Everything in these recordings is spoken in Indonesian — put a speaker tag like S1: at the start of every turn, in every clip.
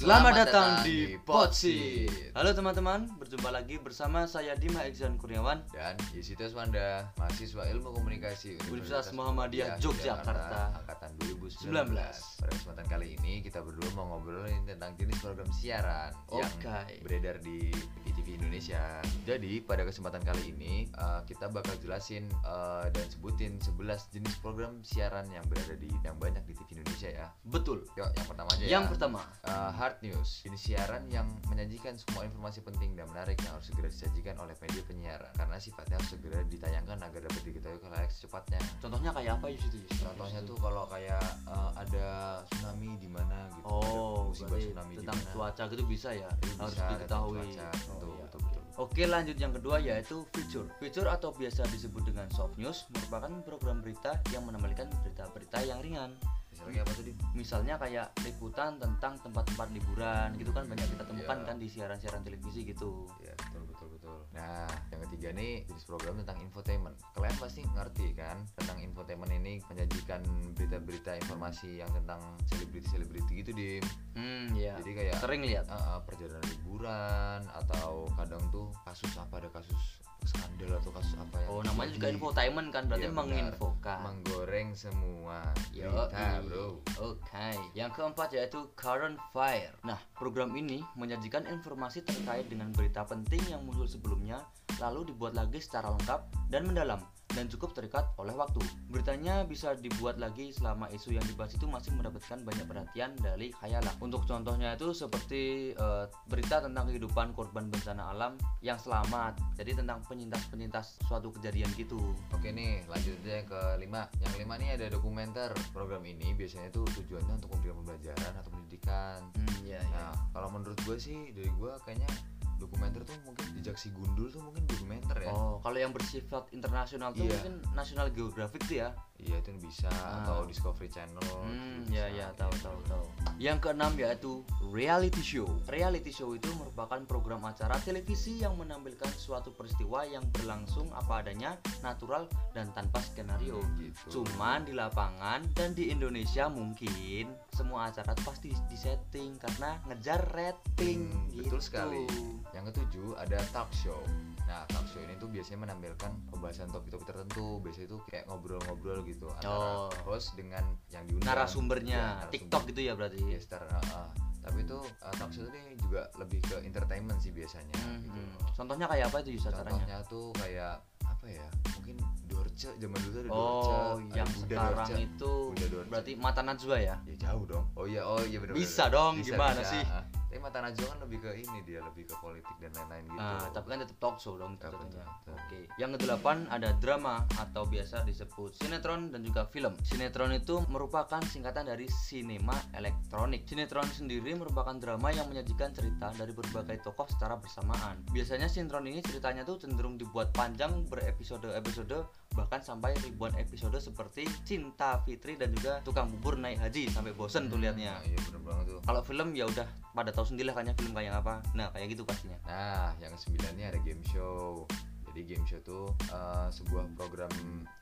S1: Selamat datang di Potsit.
S2: Halo teman-teman, berjumpa lagi bersama saya Dima Iksan Kurniawan
S1: dan Yusita Swanda, mahasiswa Ilmu Komunikasi
S2: Universitas Muhammadiyah Yogyakarta,
S1: angkatan 2019. Pada kesempatan kali ini kita berdua mau ngobrolin tentang jenis program siaran
S2: Oke.
S1: yang beredar di TV Indonesia. Jadi pada kesempatan kali ini eh, kita bakal jelasin eh, dan sebutin 11 jenis program siaran yang berada di yang banyak di TV Indonesia ya.
S2: Betul
S1: Yuk, yang pertama aja ya.
S2: Yang pertama
S1: Uh, hard news, ini siaran yang menyajikan semua informasi penting dan menarik yang harus segera disajikan oleh media penyiaran karena sifatnya harus segera ditayangkan agar dapat diketahui khalayak secepatnya.
S2: Contohnya kayak apa Yus itu Yus?
S1: Contohnya tuh kalau kayak uh, ada tsunami di mana gitu, ada
S2: Oh,
S1: musibah
S2: berarti
S1: tsunami di
S2: tentang
S1: mana.
S2: cuaca gitu bisa ya
S1: Itu
S2: Harus
S1: bisa,
S2: diketahui
S1: tentang cuaca.
S2: Oh,
S1: Betul,
S2: iya.
S1: betul, betul.
S2: Oke lanjut yang kedua yaitu feature Feature atau biasa disebut dengan soft news Merupakan program berita yang menampilkan berita-berita yang ringan
S1: Misalnya kayak apa tuh, Dim?
S2: misalnya kayak liputan tentang tempat-tempat liburan gitu kan banyak kita temukan
S1: Iya.
S2: kan di siaran-siaran televisi gitu
S1: Ya, betul betul betul. Nah, yang ketiga nih jenis program tentang infotainment. Kalian pasti ngerti kan tentang infotainment ini menyajikan berita-berita informasi yang tentang selebriti-selebriti gitu, Dim.
S2: hmm ya
S1: Jadi kayak
S2: sering lihat
S1: Uh, uh, perjalanan liburan atau kadang tuh kasus apa ada kasus skandal atau kasus apa yang
S2: oh namanya juga
S1: terjadi.
S2: infotainment kan berarti
S1: Iya, benar.
S2: menginfokan
S1: menggoreng semua
S2: Yo,
S1: berita
S2: i.
S1: bro
S2: Oke. Yang keempat yaitu current fire. Nah, program ini menyajikan informasi terkait dengan berita penting yang muncul sebelumnya, lalu dibuat lagi secara lengkap dan mendalam dan cukup terikat oleh waktu. Beritanya bisa dibuat lagi selama isu yang dibahas itu masih mendapatkan banyak perhatian dari khayalak. Untuk contohnya itu seperti eh, berita tentang kehidupan korban bencana alam yang selamat. Jadi tentang penyintas-penyintas suatu kejadian gitu.
S1: Oke nih, lanjut aja yang kelima. Yang kelima nih ada dokumenter. Program ini biasanya tuh tujuannya untuk memberikan pembelajaran atau pendidikan.
S2: Hmm, ya,
S1: Nah, kalau menurut gue sih, dari gue kayaknya dokumenter tuh mungkin jejak si gundul tuh mungkin dokumenter ya.
S2: Oh, kalau yang bersifat internasional tuh
S1: Iya.
S2: mungkin National Geographic tuh ya.
S1: Iya itu bisa atau Discovery Channel.
S2: Ah. Hmm,
S1: itu
S2: ya
S1: bisa. gitu.
S2: ya tahu tahu tahu. Yang keenam yaitu reality show. Reality show itu merupakan program acara televisi yang menampilkan suatu peristiwa yang berlangsung apa adanya, natural dan tanpa skenario.
S1: Gitu.
S2: Cuman di lapangan dan di Indonesia mungkin semua acara tuh pasti disetting karena ngejar rating
S1: Hmm,
S2: gitu.
S1: betul sekali. Yang ketujuh ada talk show. Nah, talk show ini tuh biasanya menampilkan pembahasan topik-topik tertentu. Biasanya itu kayak ngobrol-ngobrol gitu antara
S2: Oh.
S1: host dengan yang diundang.
S2: Narasumbernya
S1: Ya, narasumber.
S2: TikTok gitu ya berarti.
S1: Iya, star, ah, ah. Tapi itu uh, talk show ini juga lebih ke entertainment sih biasanya
S2: Hmm,
S1: gitu.
S2: hmm. Contohnya kayak apa itu Yus acaranya?
S1: Contohnya tuh kayak apa ya? Mungkin Dorce zaman dulu tuh ada Dorce.
S2: Oh,
S1: ada
S2: yang
S1: Bunda
S2: sekarang
S1: Dorce.
S2: itu
S1: Bunda Dorce.
S2: berarti mata Najwa ya?
S1: ya jauh dong. Oh iya, oh iya benar.
S2: Bisa dong, gimana sih?
S1: Tapi Mata Najwa kan lebih ke ini dia lebih ke politik dan lain-lain gitu.
S2: Ah, tapi kan tetap talk show dong itu
S1: Ya,
S2: jatuhnya.
S1: betul, betul.
S2: Oke. Yang kedelapan ada drama atau biasa disebut sinetron dan juga film. Sinetron itu merupakan singkatan dari sinema elektronik. Sinetron sendiri merupakan drama yang menyajikan cerita dari berbagai tokoh secara bersamaan. Biasanya sinetron ini ceritanya tuh cenderung dibuat panjang berepisode-episode bahkan sampai ribuan episode seperti Cinta Fitri dan juga Tukang Bubur Naik Haji sampai bosen tuh liatnya.
S1: Nah, iya bener banget tuh.
S2: kalau film ya udah pada tahu sendiri lah kan ya film kayak apa nah kayak gitu pastinya
S1: Nah, yang sembilannya ada game show. Jadi game show tuh eh, sebuah program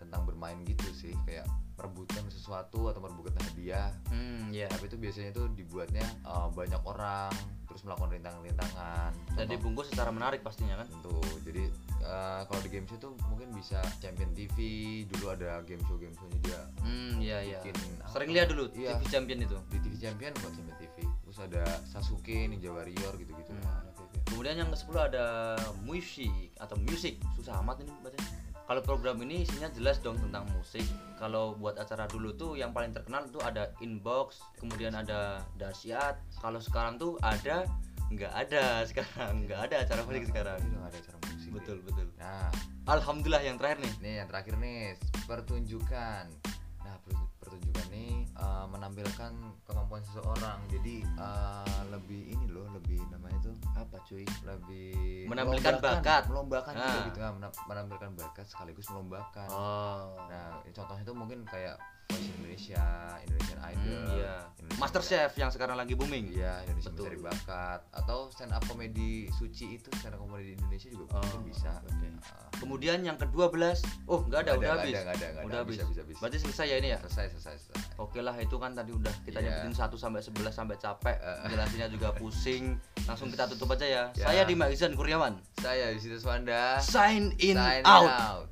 S1: tentang bermain gitu sih, kayak merebutkan sesuatu atau merebutkan hadiah.
S2: hmm ya
S1: Tapi itu biasanya tuh dibuatnya eh, banyak orang, terus melakukan rintangan-rintangan.
S2: dan
S1: Contoh-
S2: dibungkus secara menarik pastinya kan
S1: Tentu. Jadi eh, kalau di game show tuh mungkin bisa Champion TV, dulu ada game show game show-nya dia.
S2: hmm ya ya
S1: Bikin iya, apa?
S2: sering lihat dulu
S1: Iya.
S2: TV Champion itu
S1: Di TV Champion buat Champion TV. Terus ada Sasuke, Ninja Warrior gitu-gitu.
S2: Hmm.
S1: Nah, ada TV.
S2: kemudian yang ke 10 ada musik atau music susah amat ini bacanya kalau program ini isinya jelas dong tentang musik kalau buat acara dulu tuh yang paling terkenal tuh ada inbox kemudian ada dasyat kalau sekarang tuh ada nggak ada sekarang nggak ada acara musik sekarang
S1: Jadi udah nggak Gitu, ada acara musik.
S2: betul betul
S1: Nah,
S2: alhamdulillah yang terakhir nih
S1: Nih yang terakhir nih pertunjukan. Nah per- pertunjukan nih eh, menampilkan kemampuan seseorang. Jadi eh, lebih ini loh, lebih namanya tuh
S2: apa cuy
S1: lebih
S2: Menampilkan
S1: melombakan,
S2: bakat.
S1: melombakan
S2: Ah.
S1: juga gitu Nah, mena- menampilkan bakat sekaligus melombakan.
S2: oh
S1: Nah ini contohnya tuh mungkin kayak Voice Indonesia Indonesia, Indonesian Idol,
S2: Hmm, iya.
S1: Indonesian
S2: Master
S1: Got-
S2: Chef yang sekarang lagi booming.
S1: Iya, Indonesia
S2: Betul.
S1: Mencari Bakat atau stand up komedi suci itu stand up komedi di Indonesia juga
S2: Oh,
S1: mungkin bisa.
S2: oke.
S1: Ah,
S2: Kemudian yang ke-12, oh
S1: Nggak ada,
S2: nggak ada, udah
S1: nggak ada,
S2: habis.
S1: nggak ada, nggak ada.
S2: Udah habis.
S1: Bisa, bisa, bisa.
S2: Berarti selesai ya ini ya?
S1: Selesai, selesai, selesai.
S2: Oke lah itu kan tadi udah kita
S1: Iya.
S2: nyebutin 1 sampai 11 sampai capek,
S1: Eh.
S2: jelasinnya juga pusing. Langsung kita tutup aja ya.
S1: Ya.
S2: Saya Dima Izan Kurniawan.
S1: Saya Yusidus Wanda.
S2: Sign in
S1: sign
S2: out.
S1: out.